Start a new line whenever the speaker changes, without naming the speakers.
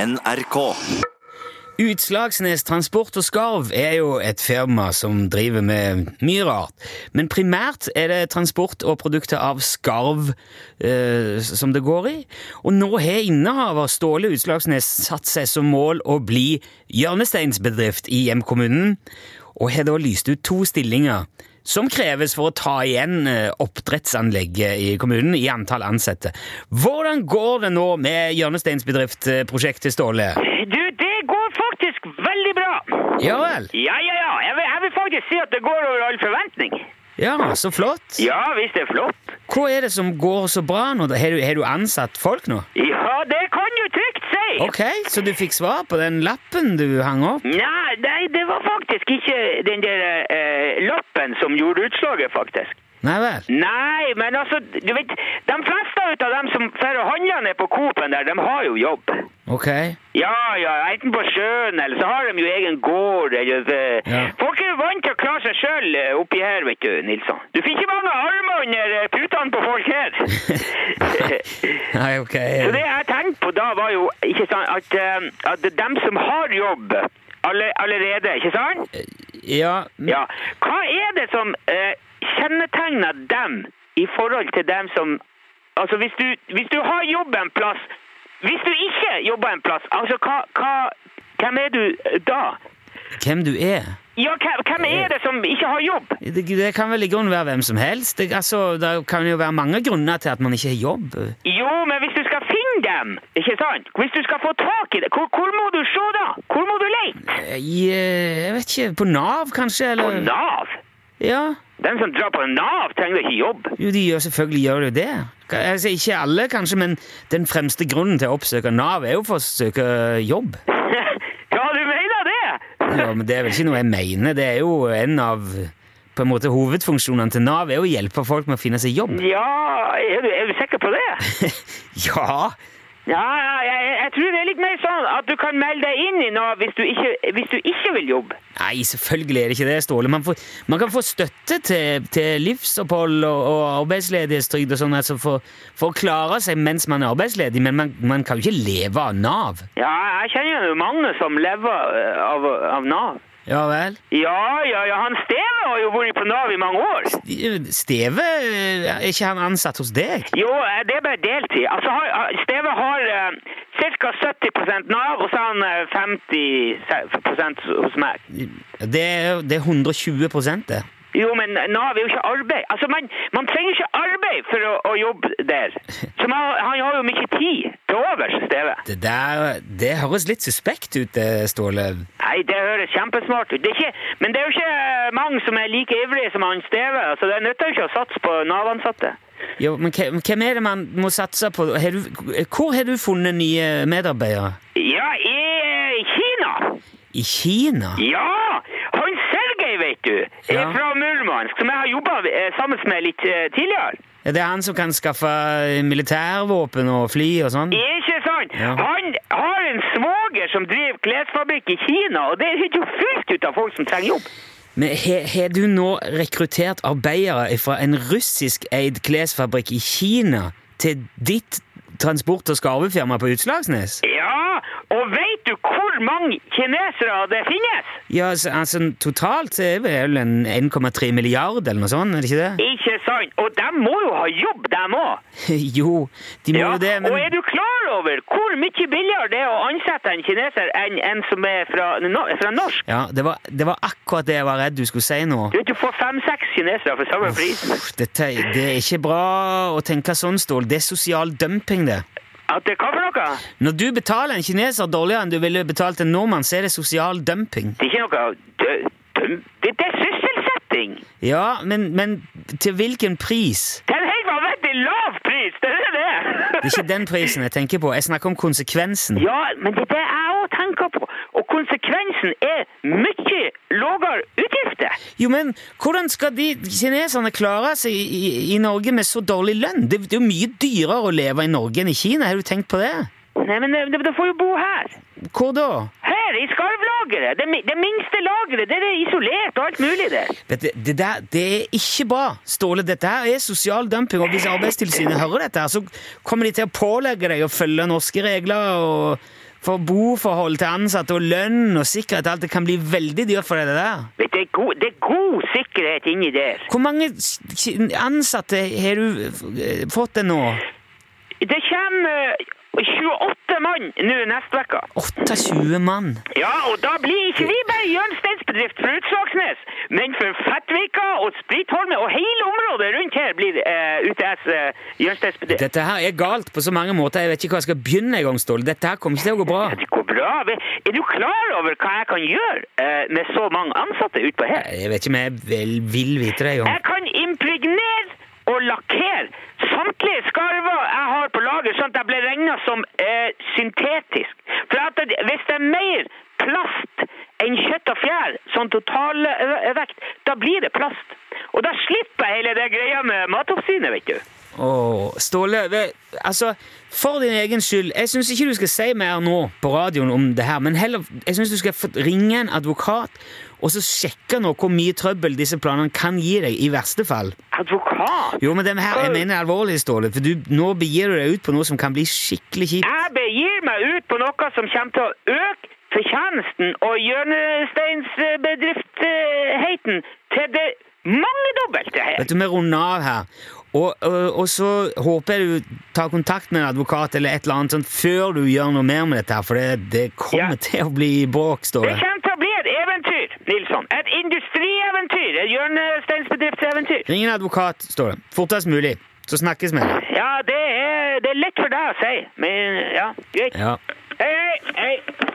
NRK.
Utslagsnes Transport og Skarv er jo et firma som driver med mye rart. Men primært er det transport og produkter av skarv eh, som det går i. Og nå har innehaver Ståle Utslagsnes satt seg som mål å bli hjørnesteinsbedrift i hjemkommunen, og har da lyst ut to stillinger som kreves for å ta igjen eh, oppdrettsanlegget i kommunen i antall ansatte. Hvordan går det nå med hjørnesteinsbedrift-prosjektet, Ståle?
Du, det går faktisk veldig bra.
Ja vel.
Ja, ja, ja. Jeg vil, jeg vil faktisk si at det går over all forventning.
Ja, så flott.
Ja, visst det er flott.
Hva er det som går så bra nå? da? Har du, har du ansatt folk nå?
Ja, det kan du trygt si.
Ok, så du fikk svar på den lappen du hang opp?
Nei, nei, det var faktisk ikke den der eh, lappen som gjorde utslaget, faktisk.
Nei vel.
Nei, men altså, du vet, de fleste ut av dem som fer og handler ned på Coop-en der, de har jo jobb.
Ok.
Ja, ja, enten på sjøen, eller så har de jo egen gård, eller det.
Ja.
Folk er jo vant til å klare seg sjøl oppi her, vet du, Nilsson. Du finner ikke mange armer under eh, putene på folk her.
Nei, ok.
så det jeg tenkte på da, var jo ikke sant, at, eh, at dem som har jobb alle, allerede, ikke sant?
Ja, m-
Ja. Hva er det som eh, kjennetegner dem i forhold til dem som Altså, hvis du, hvis du har jobb en plass Hvis du ikke jobber en plass, altså hva, hva Hvem er du eh, da?
hvem du er?
Ja, hvem, hvem er det som ikke har jobb?
Det, det kan vel i grunnen være hvem som helst. Det, altså, det kan jo være mange grunner til at man ikke har jobb.
Jo, men hvis du skal finne dem, ikke sant? Hvis du skal få tak i det, hvor, hvor må du se da? Hvor må du lete?
Jeg, Eh, jeg vet ikke, på Nav kanskje?
På
Eller?
Nav?
Ja,
Den som drar på Nav, trenger ikke jobb.
jo, de gjør selvfølgelig gjør jo det. Altså, ikke alle kanskje, men den fremste grunnen til å oppsøke Nav er jo for å søke jobb.
ja, du mener det?
Ja, men Det er vel ikke noe jeg mener. Det er jo en av på en måte, hovedfunksjonene til Nav er å hjelpe folk med å finne seg jobb.
Ja, er du, er du sikker på det?
Ja,
Ja, ja, jeg, jeg- jeg tror det er litt mer sånn at du kan melde deg inn i Nav hvis du ikke, hvis du ikke vil jobbe.
Nei, selvfølgelig er det ikke det, Ståle. Man, får, man kan få støtte til, til livsopphold og, og arbeidsledighetstrygd og sånn altså for, for å klare seg mens man er arbeidsledig, men man, man kan jo ikke leve av Nav.
Ja, jeg kjenner jo mange som lever eh, av, av Nav.
Ja vel?
Ja, ja, ja, han Steve har jo vært på Nav i mange år.
Steve, eh, er ikke han ansatt hos deg?
Jo, eh, det er bare deltid. Altså, har- har- Steve har eh, ca. 70 Nav, og så har han eh, 50 hos meg.
Det er, det er 120 det.
Jo, men Nav er jo ikke arbeid. Altså, Man, man trenger ikke arbeid for å, å jobbe der. Så man, han har jo mye tid til overs, Steve.
Det der, det høres litt suspekt ut, det, Ståle.
Nei, det høres kjempesmart ut. Det er ikke, men det er jo ikke eh, mange som er like ivrige som han Steve. Altså, det nytter jo ikke å satse på Nav-ansatte.
Jo, men hvem hvem er det man må satse på? Har du, hvor har du funnet nye medarbeidere?
Ja, i eh, Kina!
I Kina?
Ja! Han Sergej, vet du, er
Ja.
fra Murmansk, som jeg har jobba sammen med litt eh, tidligere.
Er det han som kan skaffe militærvåpen og fly og sånn?
Ikke sant?
Ja.
Han har en svoger som driver klesfabrikk i Kina, og det er jo fullt ut av folk som trenger jobb.
Men har har du nå rekruttert arbeidere fra en russisk-eid klesfabrikk i Kina til ditt transport- og skarvefirma på Utslagsnes?
Ja, og vet du hvor mange kinesere det finnes?
Ja, altså, altså totalt er det vel en 1,3 milliard eller noe sånt, er det ikke det?
Ikke sant? Og de må jo ha jobb, dem òg.
Jo, de må
Ja,
jo det, men
Og er du klar over hvor mye billigere det er å ansette en kineser enn en som er fra, no, fra norsk?
ja, det, var, det var akkurat det jeg var redd du skulle si nå.
Du vet, du får fem-seks kinesere for samme pris.
Uff, Dette, det er ikke bra å tenke sånn, Stål. Det er sosial dumping, det.
At det, hva for noe?
Når du betaler en kineser dårligere enn du ville betalt en nordmann, så er det sosial dumping.
Det er ikke noe dø- døm- Det, det er sysselsetting!
Ja, men, men til hvilken pris?
Det er en helt vanvittig lav pris! Det er
Det
det!
er ikke den prisen jeg tenker på. Jeg snakker om konsekvensen.
Ja, men det er det jeg òg tenker på. Og konsekvensen er mye lavere utgifter.
Jo, men hvordan skal de kineserne klare seg i, i, i Norge med så dårlig lønn? Det, det er jo mye dyrere å leve i Norge enn i Kina. Har du tenkt på det?
Nei, men eh, de får jo bo her.
Hvor da?
Her, i skarvlageret! Det, mi- det minste lageret. Det er isolert og alt mulig der.
Vet du, det der det er ikke bra, Ståle. Dette her er sosial dumping. Og hvis Arbeidstilsynet hører dette, her, så kommer de til å pålegge deg å følge norske regler og For boforhold til ansatte og lønn og sikkerhet alt det kan bli veldig dyrt for deg, det der.
Vet du, Det er god, det er god sikkerhet inni der.
Hvor mange s- k- ansatte har du eh, fått det nå?
Det kommer eh, 28 mann nå neste uke.
28 mann.
Ja, og da blir ikke vi bare hjørnesteinsbedrift for Utslagsnes, men for Fettvika og Spritholme og hele området rundt her blir eh, UTS eh, hjørnesteinsbedrift.
Dette her er galt på så mange måter. Jeg vet ikke hvor jeg skal begynne engang, Ståle. Dette her kommer ikke til å gå bra.
Det går bra. Ve- Er du klar over hva jeg kan gjøre eh, med så mange ansatte utpå her?
Jeg vet ikke om jeg vel vil vite det engang.
Jeg kan impregnere og lakkere samtlige skarver jeg har på lager, sånn at jeg blir regna som eh, syntetisk. For at det, hvis det er mer plast enn kjøtt og fjær, sånn totalvekt, da blir det plast. Og da slipper jeg hele det greia med Matoppsynet, vet du.
Åh, Ståle, ve- altså, for din egen skyld, jeg syns ikke du skal si mer nå på radioen om det her, men heller, jeg syns du skal få ringe en advokat og så sjekke nå hvor mye trøbbel disse planene kan gi deg, i verste fall.
Advokat!
Jo, men det her, jeg mener alvorlig, Ståle, for du, nå begir du deg ut på noe som kan bli skikkelig kjipt.
Jeg begir meg ut på noe som kommer til å øke fortjenesten og hjørnesteinsbedriftheten til det mangedobbelte her.
Vet du, Vi runder av her. Og, og, og så håper jeg du tar kontakt med en advokat eller et eller annet sånt før du gjør noe mer med dette, her, for det, det kommer
Ja.
til å bli bråk,
Det
Ståle.
kommer til å bli et eventyr, Nilsson. Et industrieventyr. Et hjørnesteinsbedriftseventyr.
Ring en advokat, står det. Fortest mulig. Så snakkes vi.
Ja, det er, det er lett for deg å si, men ja, greit.
Ja.
Hei, hei, hei.